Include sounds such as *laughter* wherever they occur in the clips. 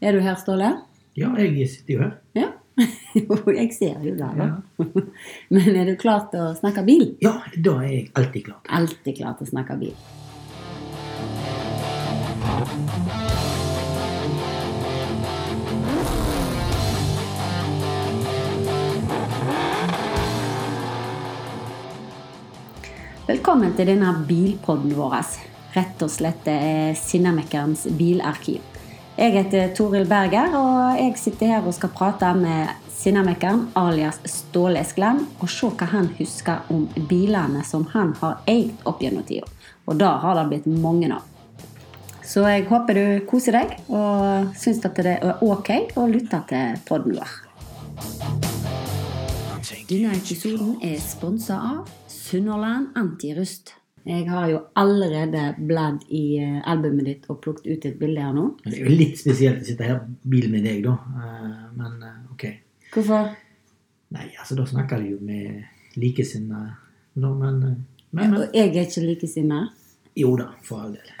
Er du her, Ståle? Ja, jeg sitter jo her. Ja. *laughs* Jo, jeg ser jo det, da. *laughs* Men er du klar til å snakke bil? Ja, da er jeg alltid klar. Alltid klar til å snakke bil. Velkommen til denne bilpodden vår. Rett og slett det er Sinnamekkerens bilarkiv. Jeg heter Toril Berger, og jeg sitter her og skal prate med Sinnamekkeren alias Ståle Eskeland og se hva han husker om bilene som han har eid opp gjennom tida. Og da har det blitt mange av. Så jeg håper du koser deg og syns at det er ok å lytte til podden vår. Denne episoden er sponsa av Sunnhordland Antirust. Jeg har jo allerede bladd i eh, albumet ditt og plukket ut et bilde her nå. Men det er jo litt spesielt å sitte her i bil med deg, da. Eh, Men eh, ok. Hvorfor? Nei, altså, da snakker du jo med likesinnede, da, men eh, Men, men. Og jeg er ikke likesinna. Jo da, for all del.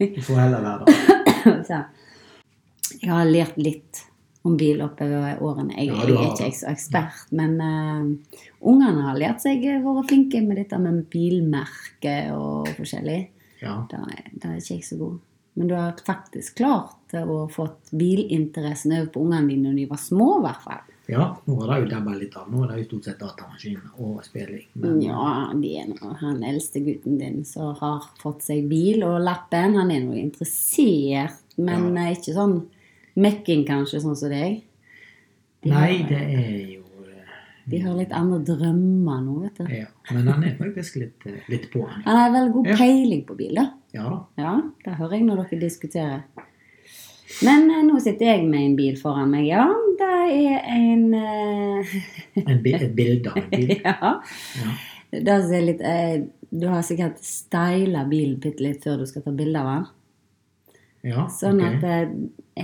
Du får heller være det. *laughs* Så jeg har lært litt om bil oppover årene. Jeg, Ja, jeg du er har ikke det. eks- ekspert, men eh, ungene har lært seg å være flinke med dette med bilmerke og forskjellig. Ja. Da er, da er ikke jeg så god. Men du har faktisk klart å få bilinteressen over på ungene dine når de var små, i hvert fall. ja, nå har det jo dabba litt av. Nå er det jo stort sett datamaskin og spilling. Men Ja, de er nå, han eldste gutten din som har fått seg bil og lappen. Han er nå interessert, men eh, ikke sånn mekking, kanskje, sånn som deg. De Nei, har, det er jo eh, De har litt andre drømmer nå, vet du. ja. Men han er faktisk litt, eh, litt på, han. Han har veldig god Ja. peiling på bil, da. Ja da. Ja, det hører jeg når dere diskuterer. Men eh, nå sitter jeg med en bil foran meg, ja. Det er en eh, *laughs* En bi- Et bilde av en bil. Ja. Ja. Det som er litt eh, Du har sikkert styla bilen bitte litt før du skal ta bilde av den. Ja, Sånn ok. at eh,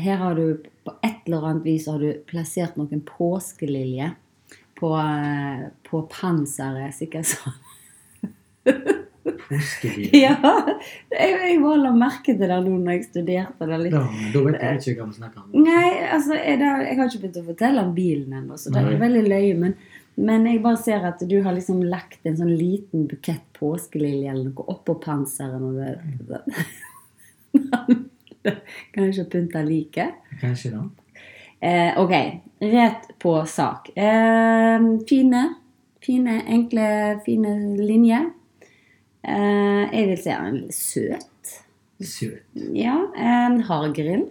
her har du på et eller annet vis har du plassert noen påskeliljer på, eh, på panseret, sikkert sånn. Påskebil. *laughs* Ja! Jeg, jeg bare la merke til det nå når jeg studerte det litt. Da, da vet jeg ikke hva vi snakker om. Nei, altså, er det, jeg har ikke begynt å fortelle om bilen ennå, så det er Nei. veldig løye. Men, men jeg bare ser at du har liksom lagt en sånn liten bukett påskeliljer eller noe oppå panseret. Og det, kan jeg ikke pynte liket. Kanskje da. Eh, ok, rett på sak. Eh, fine, fine, enkle, fine linjer. Eh, jeg vil si han er søt. Søt. Ja, en hard grill.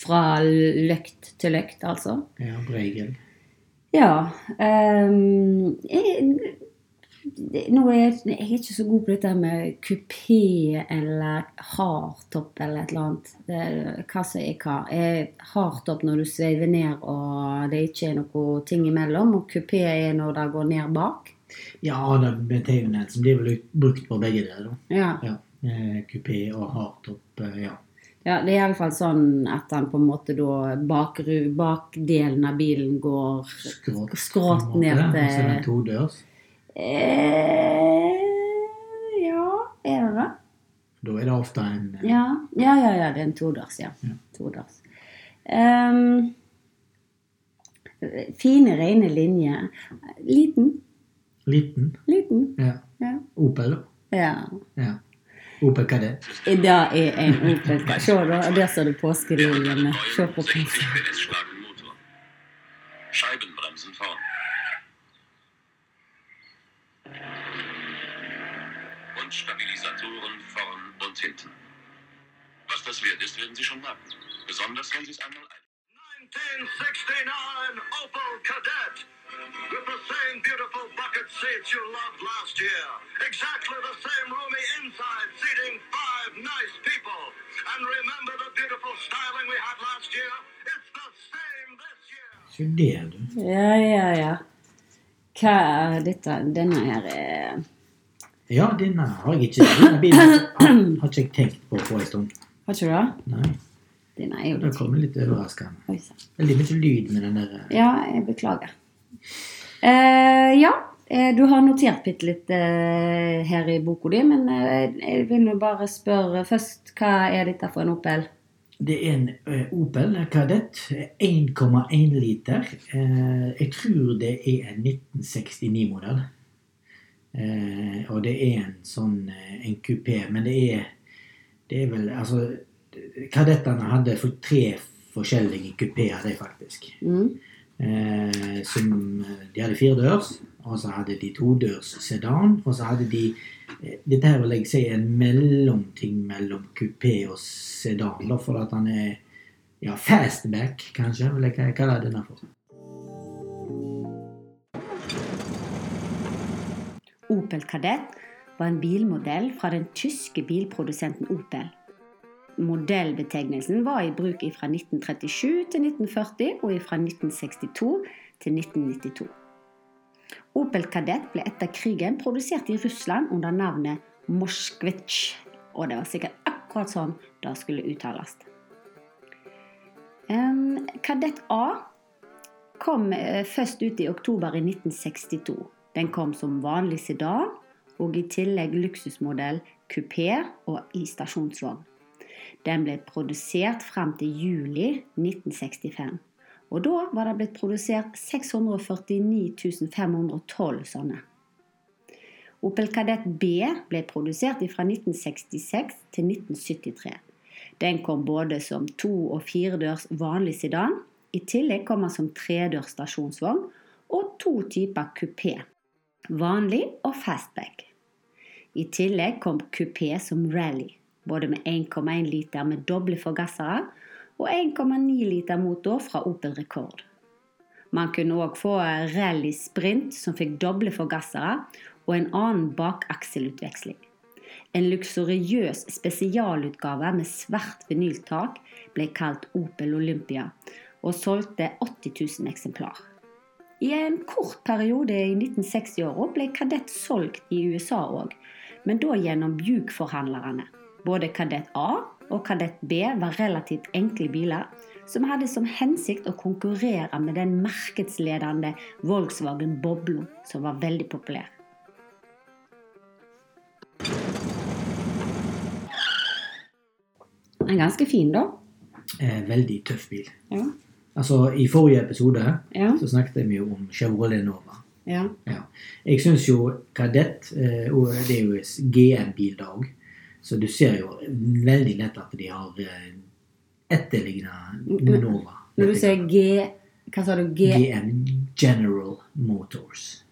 Fra løkt til løkt, altså. Ja, Bregel. Ja ehm, jeg, det- Nå er jeg, jeg er ikke så god på dette med kupé eller hardtopp eller et eller annet. Det- Hva som er hva. Er Hardtopp når du sveiver ned og det ikke er noe ting imellom, og kupé er når det går ned bak. Ja, det er betegnelsen som blir vel brukt på begge deler. da. Ja, Ja. Eh, Kupé og hardtop. eh, Ja. ja Det er iallfall sånn at den på en måte da bakru- bakdelen av bilen går Skråt. Skråt på en ned måte. til- Og så er det todørs. eh, Ja, er det det? Da er det ofte en eh, Ja, ja, ja, ja det er en todørs, ja. Ja. Todørs. Ehm, fine, rene linjer. Liten. liten. Liten. Ja. Ja. Opel, da. ja. Ja. Opel Kadett. Det er en Opel. Se, da. Der står det påskeliljene. Se på påsken. PS schlagen Motor. Scheibenbremsen vorn. Und Stabilisatoren vorn und hinten. Was das wert ist, werden Sie schon merken. Besonders wenn Sie es einmal ein. 1969 Opel Cadet with the same beautiful bucket seats you loved last year. Exactly the same roomy inside, seating five nice people. And remember the beautiful styling we had last year? It's the same this year. Se der, du. Ja, ja, ja. Hva er dette? Denne her er Ja, denne har jeg ikke denne bilen har ikke jeg tenkt på på en stund. Har ikke du det? Nei. Denne er jo Det litt kommer litt overraskende. Oi sann. Veldig mye lyd med den der eh, Ja, jeg beklager. Eh, ja, eh, du har notert bitte litt eh, her i boka di, men eh, jeg vil jo bare spørre først Hva er dette for en Opel? Det er en eh, Opel Kadett. eh, 1,1 liter. Eh, jeg tror det er en 1969-modell. Eh, og det er en sånn eh, en kupé, men det er det er vel Altså, kadettene hadde for tre forskjellige kupeer, de, faktisk. Mm. Eh, som De hadde firedørs, og så hadde de todørs sedan, og så hadde de eh, Dette her vil jeg si er en mellomting mellom kupé og sedan, da, for at han er ja, fastback, kanskje, vil jeg kalle denne for. Opel Kadett var en bilmodell fra den tyske bilprodusenten Opel. Modellbetegnelsen var i bruk fra 1937 til 1940 og fra 1962 til 1992. Opel Kadett ble etter krigen produsert i Russland under navnet Moskvitsj, og det var sikkert akkurat sånn det skulle uttales. Em, Kadett A kom eh, først ut i oktober i 1962. Den kom som vanlig sedan, og i tillegg luksusmodell kupé og i stasjonsvogn. Den ble produsert frem til juli 1965. Og da var det blitt produsert 649 512 sånne. Opel Kadett B ble produsert fra 1966 til 1973. Den kom både som to- og firedørs vanlig sedan. I tillegg kom den som tredørs stasjonsvogn og to typer kupé. Vanlig og fastback. I tillegg kom kupé som rally, både med 1,1 liter med doble forgassere og 1,9 liter motor fra Opel Rekord. Man kunne òg få rally sprint som fikk doble forgassere og en annen bakakselutveksling. En luksuriøs spesialutgave med svært vinyltak ble kalt Opel Olympia og solgte 80 000 eksemplar. I en kort periode i 1960-åra ble Kadett solgt i USA òg, men da gjennom Buick-forhandlerne. Både Kadett A og Kadett B var relativt enkle biler som hadde som hensikt å konkurrere med den markedsledende Volkswagen Boblo, som var veldig populær. En ganske fin, da. Eh, veldig tøff bil. Ja. Altså, I forrige episode Ja. så snakket vi jo om Chevrolet Nova. ja. Ja. Jeg syns jo Kadett eh, og Det er jo GM-bil da òg, så du ser jo veldig lett at de har eh, etterligna Men- Nova. Når du sier G Hva sa du? G... GM General Motors.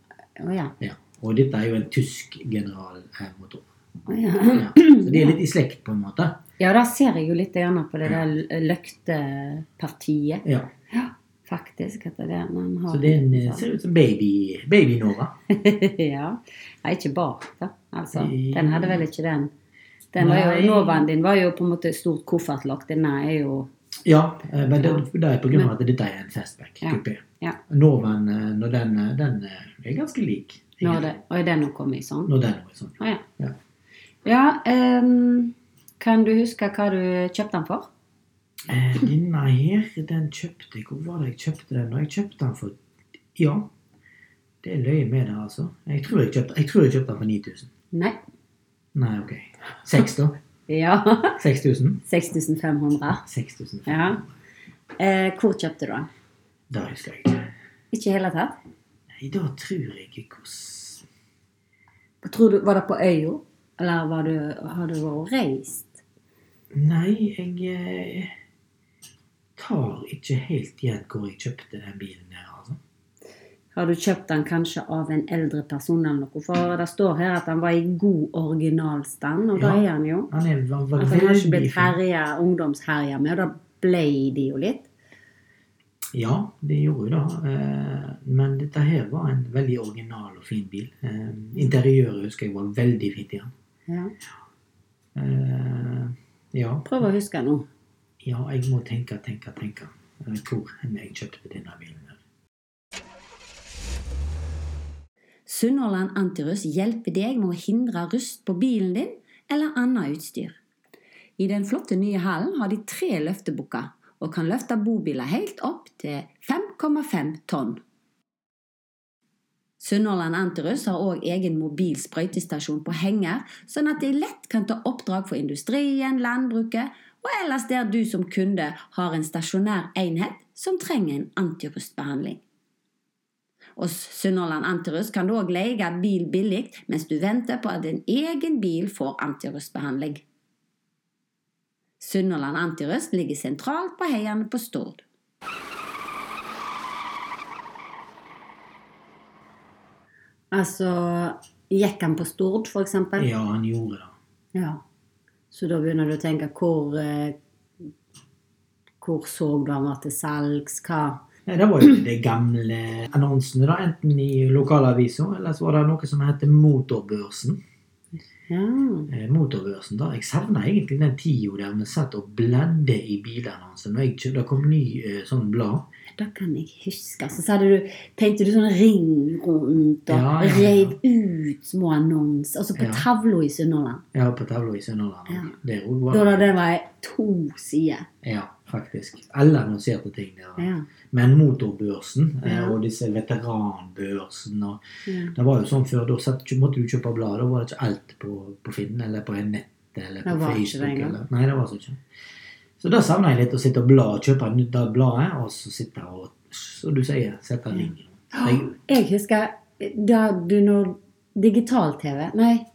Å ja. Ja. Og dette er jo en tysk generalmotor. Å ja. Ja. Så de er litt i slekt, på en måte. Ja, da ser jeg jo litt gjerne på det der løktepartiet, Ja. faktisk. at det er den har Så det er en, eh, ser ut som baby, baby Nova. ja. Nei, ikke bak, da. Altså, I- den hadde vel ikke den. Den var jo, Nei. Novaen din var jo på en måte stort koffertlokk. Denne er jo Ja, eh, men det, Ja. det er på grunn av at dette er en fastback Ja. kupé. Ja. Novaen, eh, når den, eh, den eh, er ganske lik. nå er det, Og er den nå kommet i sånn? Når den er sånn. Å ja. Ja. ja ehm, kan du huske hva du kjøpte den for? Eh, Denne her, den kjøpte jeg Hvor var det jeg kjøpte den? da? Jeg kjøpte den for Ja, det er løye med det, altså. Jeg tror jeg kjøpte, jeg tror jeg kjøpte den for 9000. Nei. Nei, OK. 6, *laughs* da? Ja. *laughs* 6000? 6500. 6000. Ja. Eh, hvor kjøpte du den? Da husker jeg ikke. Ikke i hele tatt? Nei, da tror jeg ikke hvordan Tror du, var det på øya? Eller var du, har du vært og reist? Nei, jeg eh, tar ikke helt igjen hvor jeg kjøpte den bilen her, altså. Har du kjøpt den kanskje av en eldre person eller noe? For det står her at den var i god originalstand, og det Ja. er den jo. Han er, han var At den Altså, har ikke veldig blitt fin. herja, ungdomsherja med, og da ble de jo litt. Ja, det gjorde jo det. eh, Men dette her var en veldig original og fin bil. Eh, Interiøret husker jeg var veldig fint i den. Ja. Eh, Ja, Prøv å huske nå. ja, jeg må tenke, tenke, tenke eh, hvor hen jeg kjøpte denne bilen. her. Sunnhordland Antirust hjelper deg med å hindre rust på bilen din eller annet utstyr. I den flotte nye hallen har de tre løftebukker og kan løfte bobiler helt opp til 5,5 tonn. Sunnhordland Antirust har òg egen mobil sprøytestasjon på henger, sånn at de lett kan ta oppdrag for industrien, landbruket og ellers der du som kunde har en stasjonær enhet som trenger en antirustbehandling. Hos Sunnhordland Antirust kan du òg leie bil billig mens du venter på at din egen bil får antirustbehandling. Sunnhordland Antirust ligger sentralt på heiene på Stord. Altså, gikk han på Stord, for eksempel? Ja, han gjorde det. Ja. Så da begynner du å tenke hvor eh, Hvor så du han var til salgs? Hva Nei, Det var jo de gamle annonsene, da, enten i lokalavisa, eller så var det noe som heter Motorbørsen. Ja. Eh, Motorbørsen, da. Jeg savna egentlig den tida der vi satt og bladde i bilannonser. Når jeg kjøpte, det kom ny eh, sånn blad. Da kan jeg huske. Så sa du, tenkte du sånn ring rundt og Ja, ja, ja. reiv ut små annonser. Altså på Ja. tavla i Sunnhordland. Ja, på tavla i Sunnhordland. Ja. Der òg Da da var det. det var to sider. Ja, faktisk. Alle annonserte ting der. da. Ja. Men Motorbørsen eh, Ja. og disse veteranbørsen og ja. Det var jo sånn før, da satt, måtte du kjøpe blader, da var det ikke alt på, på Finn eller på nettet eller på Det var ikke det Facebook. engang. Eller, nei, det var så ikke. Så da savna jeg litt å sitte og bla og kjøpe nytt det bladet, og så sitte og, som du sier, sette Ja. ringen. Jeg- Jeg husker da du når Digital-TV Nei,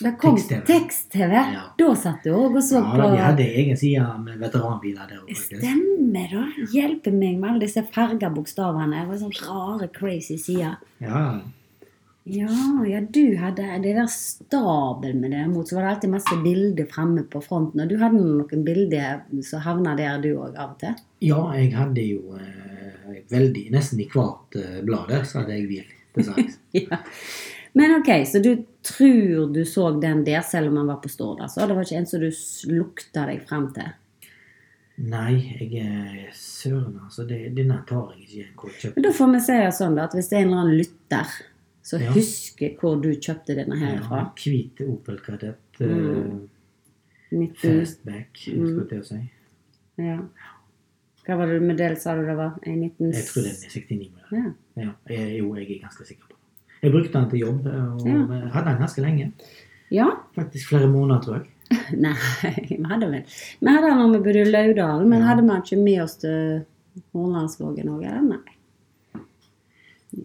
da kom Tekst-TV. tekst-TV. Ja. da satt du òg og så Ja, på da, vi hadde egen side med veteranbiler der òg, faktisk. Stemmer, da. Hjelpe meg med alle disse farga bokstavene. Det var sånne rare, crazy sider. Ja, ja. Ja, ja, du hadde det der stabel med det mot, så var det alltid masse bilder framme på fronten. Og du hadde noen bilder som havna der, du òg, av og til. *laughs* ja, jeg hadde jo eh, veldig Nesten i hvert eh, blad der så hadde jeg hvil til *laughs* salgs. Ja. Men ok, så du tror du så den der, selv om han var på Stord, altså? Det var ikke en som du s- lukta deg fram til? Nei, jeg eh, Søren, altså. Det, denne tar jeg ikke igjen hvor jeg kjøpte. Men da får vi si det sånn da, at hvis det er en eller annen lytter som Ja. husker hvor du kjøpte denne her Ja, fra, en Hvit Opel Kadett. eh, Mm. 19, Fastback, skulle jeg til å si. ja. Hva var det med del, sa du det var? En 19... Jeg tror den er 69 med Ja. Ja, jeg, jo, jeg er ganske sikker på det. Jeg brukte den til jobb, og Ja. eh, hadde den ganske lenge. ja? Faktisk flere måneder, tror jeg. *laughs* Nei, vi hadde vel. Vi hadde den når vi bodde i Laudalen, men Ja. hadde vi den ikke med oss til Hornlandsvågen òg, eller? Nei.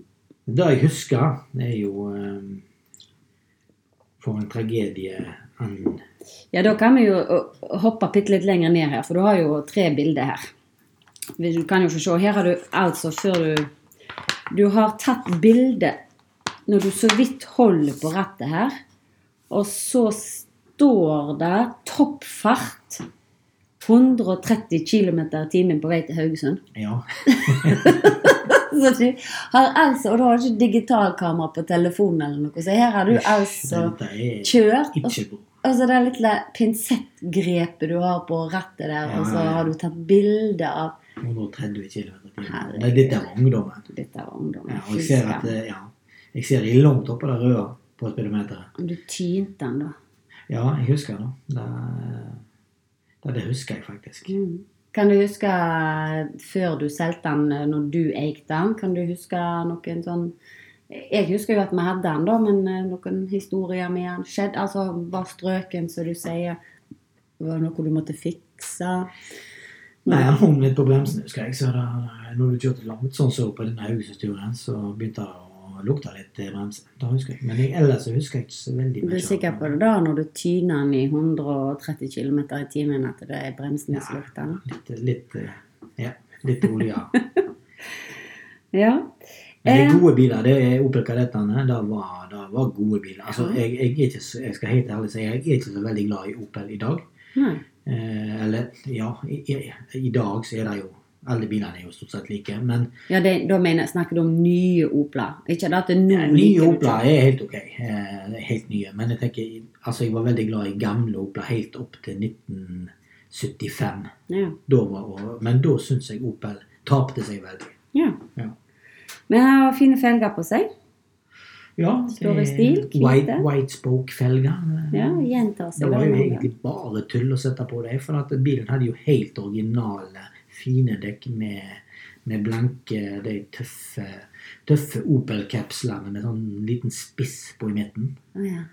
Det jeg husker, er jo eh, For en tragedie han Ja, da kan vi jo ø, hoppe bitte litt lenger ned her, for du har jo tre bilder her. Du kan jo få se. Her har du altså før du Du har tatt bilde når du så vidt holder på rattet her, og så står det toppfart 130 km i timen på vei til Haugesund. Ja. Så du har altså, Og du har ikke digitalkamera på telefonen eller noe, så her har du altså *laughs* Dette er kjørt. og ikke bra. Altså det lille pinsettgrepet du har på rattet der, Ja, og så ja, ja. har du tatt bilde av 130 km i timen. Herregud. Det er Dette var ungdommen. Dette var ungdommen. Ja, og jeg ser at eh, ja, jeg ser de langt oppe det røde på speedometeret. Du tynte den, da. Ja, jeg husker det. Det, det, det husker jeg faktisk. Kan du huske eh, før du solgte den, eh, når du eikte den? Kan du huske noen sånn Jeg husker jo at vi hadde den, da, men eh, noen historier med den skjedde? Altså, var strøken, som du sier, var det noe du måtte fikse? Nei, han hung litt på bremsen, husker jeg. Så da, når du kjørte langt, sånn som på denne Haugesundsturen, så begynte det å lukte litt i bremsen. Det husker jeg. Men jeg, ellers så husker jeg ikke så veldig Du er sikker på det da, når du tyner den i 130 km i timen, at det er bremsene som lukter? den? Litt, litt, eh, ja, litt olje. Ja. Men Eh. de gode biler, det er Opel Kadettene. Det var, det var gode biler. Altså, jeg, jeg, er ikke, så- jeg skal helt ærlig si, jeg er ikke så veldig glad i Opel i dag. Nei. Eh, eller, ja, i, i, i dag så er det jo Alle bilene er jo stort sett like, men Ja, det, da mener, jeg- snakker du om nye Opla. Ikke det at det er noen Nye liker du Opla ikke. er helt ok. eh, Helt nye. Men jeg tenker, altså jeg var veldig glad i gamle Opla helt opp til 1975. Ja. Da var, men da syns jeg Opel tapte seg veldig. ja. Ja. Men han har fine felger på seg. Mm. Ja, det Står i er stil, hvite. White, white spoke-felger. Ja, gjentar seg. Det var jo veldig mange. egentlig bare tull å sette på dem, for at bilen hadde jo helt originale, fine dekk med, med blanke, de tøffe, tøffe Opel-kapslene med sånn liten spiss på i midten. Å, ja.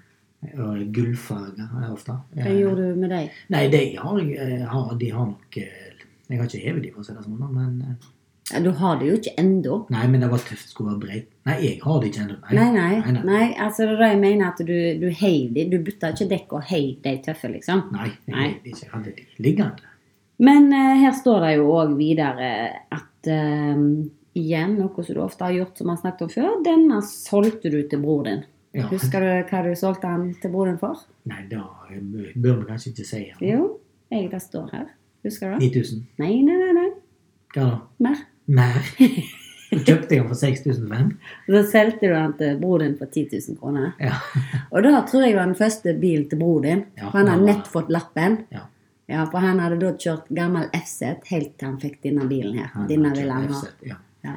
Og gullfarger er det ofte. Hva Eh, gjorde du med deg? Nei, de har, jeg- har, de har nok eh, Jeg har ikke hevet de for å si det sånn, da, men eh, Ja, Du har det jo ikke ennå. Nei, men det var tøft. Skulle være breit. Nei, jeg har det ikke ennå. Nei, nei, nei. Altså, det er det jeg mener at du, du heiv de. Du bytta ikke dekk og heiv de tøffe, liksom. Nei, jeg, Nei. vet ikke. jeg hadde de liggende. Men eh, her står det jo òg videre at eh, Igjen, noe som du ofte har gjort som vi har snakket om før. Denne solgte du til bror din. Ja. Husker du hva du solgte han til bror din for? Nei, da eh, bør vi kanskje ikke si det. Jo, jeg, det står her. Husker du? det? 9000. Nei, nei, nei. nei. Hva da? Mer. Mer. Så kjøpte jeg den for 6500. Så solgte du han til bror din for 10 000 kroner. Ja. Og da tror jeg var den første bilen til bror din. Ja, for han har han var- nett fått lappen. Ja. Ja, for han hadde da kjørt gammel FZ helt til han fikk denne bilen her. Han Denne hadde ville han ha. FZ, Ja. Ja.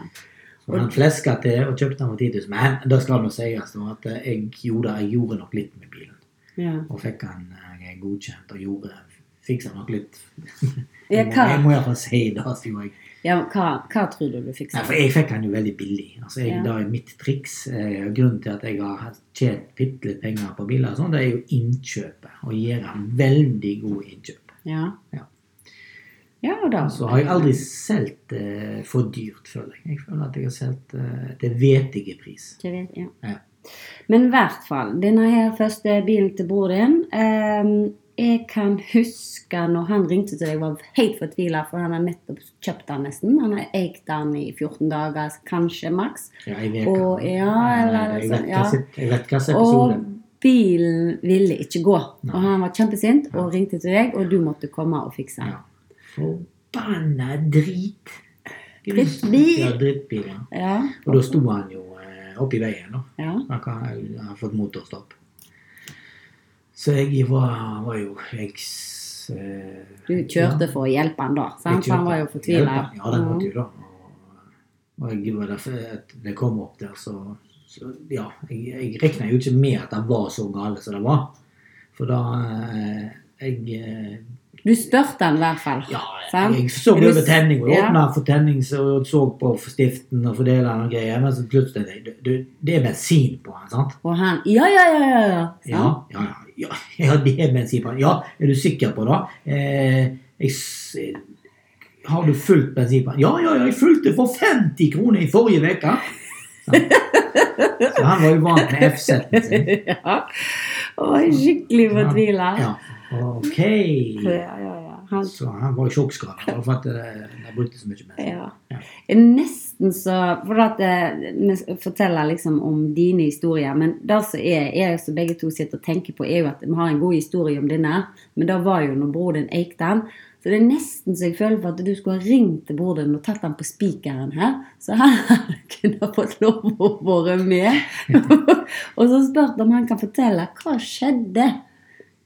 Så han fleska til og kjøpte den for 10 000. Men det skal nå sies nå at eh, jeg gjorde, jeg gjorde nok litt med bilen. Ja. Og fikk han eh, godkjent og gjorde Fiksa nok litt. *laughs* Ja, Jeg må- hva? Jeg må iallfall si det. Så gjorde jeg. ja, men hva, hva tror du du fikk Nei, sagt? for jeg fikk han jo veldig billig. Altså, jeg, Ja. Det er mitt triks. Eh, grunnen til at jeg har tjent bitte litt penger på biler, og sånn, det er jo innkjøpet. Å gjøre veldig gode innkjøp. Ja. Ja. ja, og da Så har jeg aldri solgt eh, for dyrt, føler jeg. Jeg føler at jeg har solgt eh, til vetige pris. Ikke vet, ja. Ja. Men i hvert fall, denne her første bilen til bror din ehm, Jeg kan huske når han ringte til deg, jeg var helt fortvila, for han har nettopp kjøpt den nesten. Han har eid den i 14 dager, kanskje maks. Ja, jeg vet, Å, ja, eller jeg, sånn, vet ja. hva sitt- jeg vet hva slags Og episode. bilen ville ikke gå. Og Nei. han var kjempesint og ringte til deg, og du måtte komme og fikse den. Ja. Forbanna drit. Drittbil. Ja, drittbil, ja. Ja. Og da sto han jo eh, oppi veien, da. ja. Han kan- han har fått motorstopp. Så jeg var, var jo Jeg, s- eh, Du kjørte for å hjelpe han da, jeg sant? Så han kjørte. var jo Mm. fortvila. Hjelpa. Ja, det måtte jo da. Og- Og jeg var der, at det kom opp der, så, så Ja, jeg, jeg regna jo ikke med at det var så gale som det var. For da eh, Jeg eh, Du spurte han i hvert fall. Ja, sant? jeg så Men du- over tenning og Ja. åpna for tenning så så på for stiften og fordela og greier. Men så plutselig det, det, det er bensin på den, sant? Og han Ja, ja, ja, ja, ja. sant? Ja, ja, ja, ja, ja, det er bensin på den. Ja, er du sikker på det? Eh, jeg, s- har du fullt bensin på den? Ja, ja, ja, jeg fulgte for 50 kroner i forrige uke. Sant? Så han var jo vant med F-setten *laughs* sin. ja. Oi, skikkelig fortvila. Ja, ok. ja, ja, ja. Han, Så han eh, var i sjokkskala for at det, det brukte så mye bensin. ja. Ja. Nesten så For at eh, vi forteller liksom om dine historier. Men det som er, er jo som begge to sitter og tenker på, er jo at vi har en god historie om denne. Men det var jo når broren din eikte den. Så det er nesten så jeg føler for at du skulle ha ringt til broren din og tatt den på spikeren her. Så han hadde *laughs* kunne fått lov å være med. *laughs* og så spurt om han kan fortelle hva skjedde.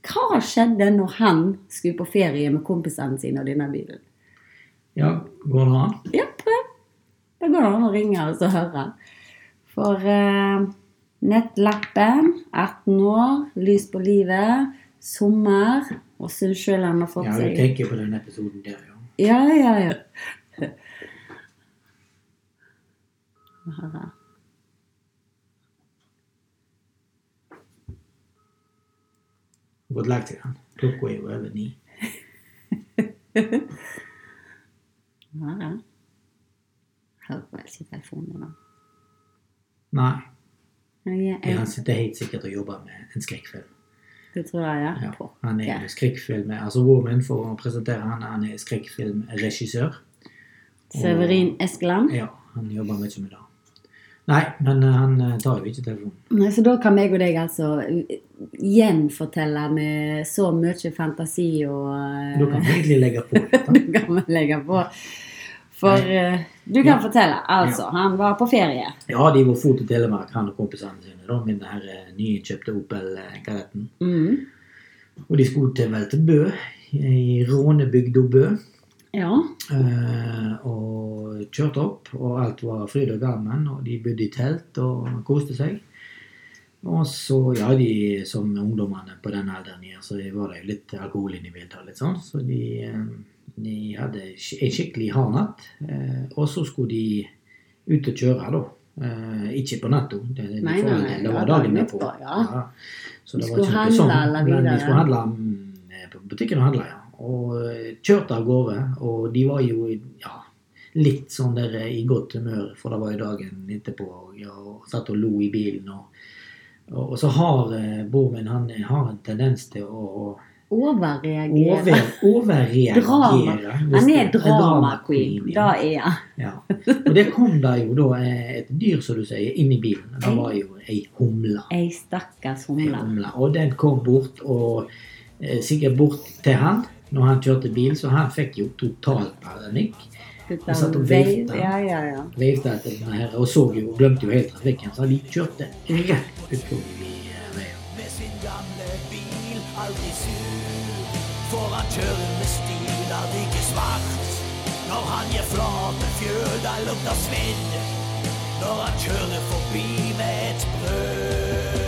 Hva skjedde når han skulle på ferie med kompisene sine og denne bilen? Ja, går det an? Ja, prøv. Da går det an å ringe og så høre. For eh, nettlappen, 18 år, lys på livet, sommer og syns sjøl han har fått Ja, du seg tenker på den episoden der, ja. Ja, ja, ja. Må høre. Gått lagt seg den. Klokka er jo over ni. Må høre. Hører vel ikke telefonen nå. Nei, Jeg, jeg, han jeg, sitter helt sikkert og jobber med en skrekkfilm. det tror jeg, ja. Ja, Pokker. han er jo skrekkfilm, altså Woman, for å presentere han, han er skrekkfilmregissør. Severin Eskeland. Ja, han jobber mye med det. Nei, men eh, han eh, tar jo ikke telefonen. Nei, Så da kan meg og deg altså eh, gjenfortelle med så mye fantasi og eh, Da kan vi egentlig legge på litt. da. du kan vel legge på. For eh, *laughs* du kan Ja. fortelle. Altså, han var på ferie. Ja, de var fort i Telemark, han og kompisene sine, da, med den her eh, nyinnkjøpte Opel-kadetten. Mm. Og de skulle til vel til Bø, i Rånebygda Bø. Ja. Eh, og kjørte opp, og alt var fryd og gammen, og de bodde i telt og koste seg. Og så, ja, de som ungdommene på den alderen gjør, så var det jo litt alkohol inne i bildet. og litt sånn, Så de, eh, de hadde sk- en skikkelig hard natt. Eh, og så skulle de ut og kjøre, da. Eh, ikke på natta. Det, det, Nei, nei, nei, det ja, var dagen dagen derpå. etterpå, ja. Så Vi det var skulle ikke noe handle sånn, eller Men videre. vi skulle handle mm, på butikken og handle, ja. Og eh, kjørte av gårde. Og de var jo ja, litt sånn der eh, i godt humør, for det var jo dagen etterpå. Og, ja, og satt og lo i bilen. Og, og, og så har eh, broren min han har en tendens til å Overreagere. over, overreagere. Drama. hvis Han det- er drama queen. ja. Da er han. Ja. Og det kom da jo da eh, et dyr, som du sier, inn i bilen. Det var jo ei humle. Ei stakkars Ei humle. humle. Og den kom bort, og eh, sikkert bort til han når han kjørte bil, så han fikk jo total panikk. Dette satt og vei- vifta. Ja, ja, ja. Veifte etter denne her, og så jo, glemte jo helt trafikken, så de kjørte rett utover i eh, veien. med sin gamle bil aldri sur. For han kjører med stil av ikke svart. Når han gir flate fjøl, da lukter svinn. Når han kjører forbi med et brøl.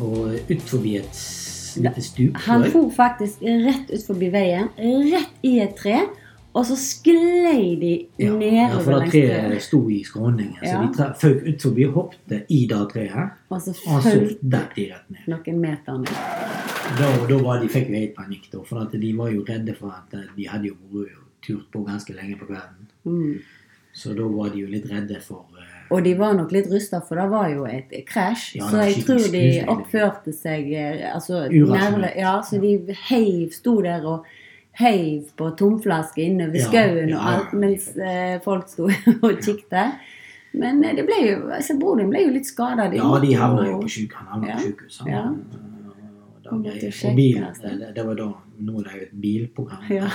Og utfor et s- lite stup. Han tror jeg. for faktisk rett ut forbi veien, rett i et tre, og så sklei de Ja, ja, for nedover det langs treet treet. sto i skråningen, så Ja. de tra- føk utfor, hoppte i det treet, Og så og så fulgte datt de rett ned. noen meter ned. *laughs* Da, da var de, fikk jo helt panikk, da, for at de var jo redde for at eh, de hadde jo vært og turt på ganske lenge på kvelden. Mm. Så da var de jo litt redde for eh, Og de var nok litt rysta, for det var jo et krasj. Ja, det så var jeg skikkelig tror de skuespill. oppførte seg eh, altså, Urasjonelt. nerve, Ja, så de heiv, sto der og heiv på tomflasker innover Ja, skauen ja, og ja. alt, mens eh, folk sto *laughs* og kikket. Men eh, det ble jo, altså, broren din ble jo litt skada. Ja, de havna jo på syk, han havna Ja, på sykehus. Han, ja. eh, da Måtte ble- sjekke, og bilen, altså. det, det- det var da Nå er det jo et bilprogram. Ja.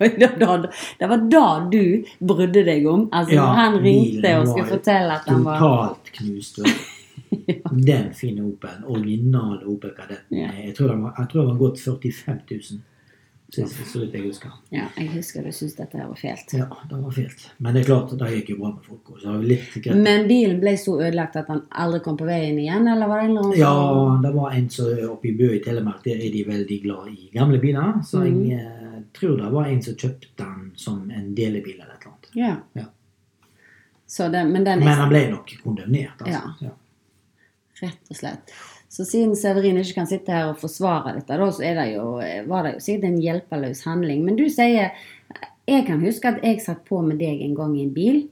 det, var da, det var da du brydde deg om. Altså, Ja, når han ringte bilen var og skulle jo fortelle at han var Totalt knust. *laughs* vet du. Den fine Opelen, original Opel Kadetten. Ja. Jeg tror den var, jeg tror den var gått 45 000, så, så, så vidt jeg husker. Ja, jeg husker du syntes dette her var fælt. Ja, det var fælt. Men det er klart, det gikk jo bra med folk. også, Så det var litt greit. Men bilen ble så ødelagt at han aldri kom på veien igjen, eller var det en eller annen Ja, det var en som oppe i Bø i Telemark, der er de veldig glad i gamle biler. Så Mm. jeg eh, tror det var en som kjøpte den som en delebil eller et eller annet. Ja. Ja. Så det, men den Men er han ble nok kondemnert, altså. Ja. rett og slett. Så siden Severin ikke kan sitte her og forsvare dette, da, så er det jo, var det jo sikkert en hjelpeløs handling. Men du sier Jeg kan huske at jeg satt på med deg en gang i en bil,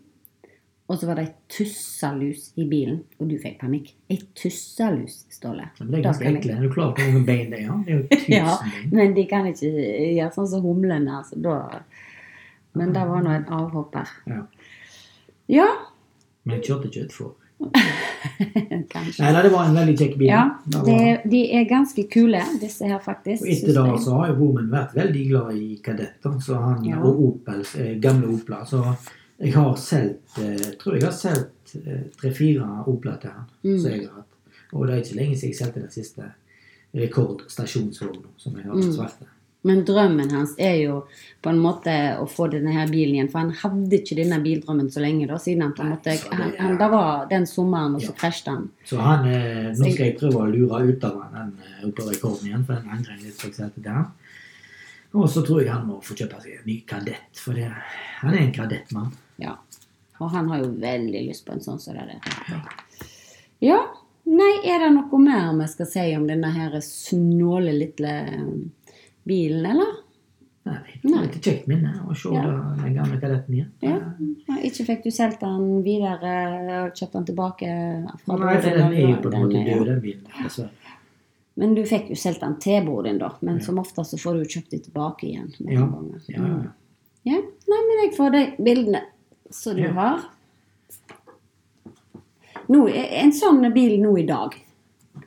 og så var det ei tussalus i bilen, og du fikk panikk. Ei tussalus, Ståle. Men det er Da ganske kan jeg- ekle. Er du klar på hvor mange bein det er? Ja, *laughs* Det er jo tusen Ja, bein. men de kan ikke gjøre sånn som humlene. Altså, da. Men det var nå en avhopper. Ja. Ja, Men jeg kjørte ikke utfor. *laughs* kanskje. Nei, nei, det var en veldig kjekk bil. Ja, Det var- det, de er ganske kule, disse her faktisk. og etter synes det jeg. så har jo broren min vært veldig glad i kadetter så han, Ja. og Opel, eh, gamle Opler. Så jeg har solgt eh, jeg tror jeg har solgt eh, tre-fire Opler til han. Mm. som jeg har hatt. Og det er ikke lenge siden jeg solgte den siste rekordstasjonsvogna som jeg har Mm. hatt svarte. Men drømmen hans er jo på en måte å få denne her bilen igjen. For han hadde ikke denne bildrømmen så lenge, da, siden han på en Nei, måte så det- han, han, Det var den sommeren, og så Ja. krasjet han. Så han, eh, nå skal jeg prøve å lure ut av han den eh, Opel-rekorden igjen, for den angrer jeg litt på at jeg solgte til han. Og så tror jeg han må få kjøpe seg en ny kadett, for det, han er en kadettmann. Ja. Og han har jo veldig lyst på en sånn som det der. Ja. Nei, er det noe mer vi skal si om denne her snåle lille eh, bilen, eller? Nei, det Nei. var et kjekt minne å se Ja. da den gamle kadetten igjen. Ja. Ja, Ikke fikk du solgt den videre og kjøpt den tilbake? fra Nei, for broren, den er jo eller- på en den måte altså. er- død, den bilen. dessverre. Men du fikk jo solgt den til broren din, da. Men Ja. som oftest så får du jo kjøpt den tilbake igjen. med Ja. en gang. Ja, ja, ja. ja. Nei, men jeg får de bildene som du Ja. har. Nå, en sånn bil nå i dag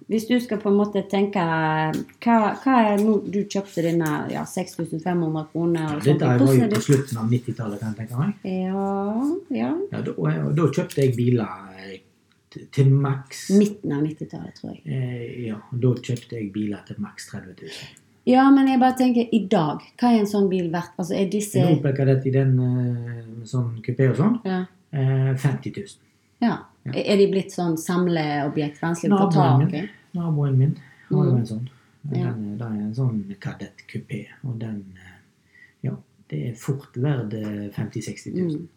Hvis du skal på en måte tenke Hva, hva er nå du kjøpte denne ja, 6500 kroner? og sånt, Dette her var jo hvordan er på det- slutten av 90-tallet, kan jeg tenke meg. Ja, ja. Ja, da, og da kjøpte jeg biler eh, t- til maks Midten av 90-tallet, tror jeg. Eh, Ja, da kjøpte jeg biler til maks 30 000. Ja, men jeg bare tenker i dag. Hva er en sånn bil verdt? Altså, er disse En Opel Kadett i den eh, med sånn kupé og sånn ja. eh, 50 000. Ja. Er de blitt sånn samleobjekt? Vanskelig å få Naboen tak i? min, naboen min har jo Mm. en sånn. Ja. Den, det er en sånn kadettkupé, og den eh, Det er fort verdt eh, 50 000-60 000. Mm.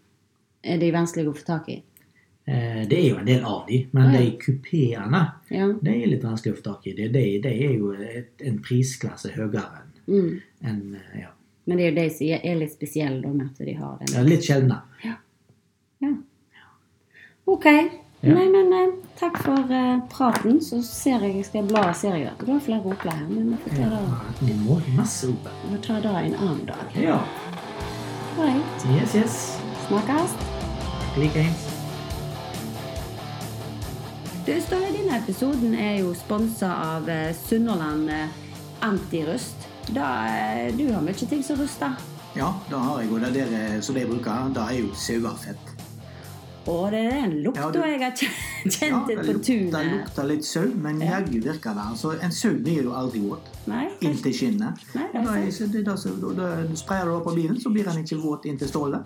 Er de vanskelige å få tak i? Eh, Det er jo en del av de, men Ah, ja. de kupeene Ja. de er litt vanskelig å få tak i. De, de, de er jo et, en prisklasse høyere enn Mm. enn, eh, ja. Men det er jo de som er litt spesielle, da, med at de har den. ja, litt sjeldnere. Ja. Ok. Ja. Nei, men eh, takk for eh, praten. Så ser jeg, skal jeg bla ser jeg at du har flere opler her. Men vi får ta det, Vi må masse opp. vi får ta det en annen dag. Ja. Right. Yes, yes. Snakkes. Takk likeens. Du, Ståle, denne episoden er jo sponsa av eh, Sunnhordland eh, Antirust. Da, eh, du har mye ting som ruster. Ja, det har jeg, og det der eh, som de bruker, det er jo sauefett. Og det er den Ja, lukta du- jeg har *laughs* kjent Ja, kjent det på luk- Det tunet. lukter litt sau, men jaggu virker det. Altså, en sau blir jo aldri våt. Nei, Inn til skinnet. Nei, det er Og da er- så det er det som- da- da- Du sprayer det opp på bilen, så blir den ikke våt inn til stålet.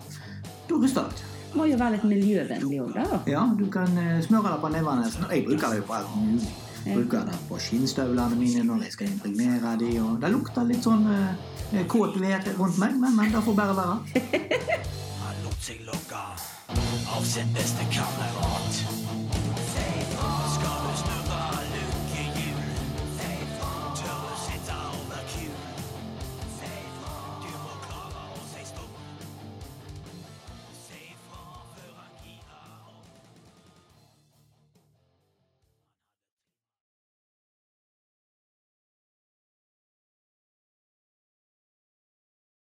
Da ruster det. det må jo være litt miljøvennlig òg, da. Ja, du kan eh, smøre det på nevene. nesten. Jeg bruker det jo på alt mulig. Jeg Bruker det på skinnstøvlene mine når jeg skal impregnere de, og det lukter litt sånn eh, kåt vær rundt meg, men, men det får bare være. Han lot seg lokke av sin beste kamerat. Skal du snurre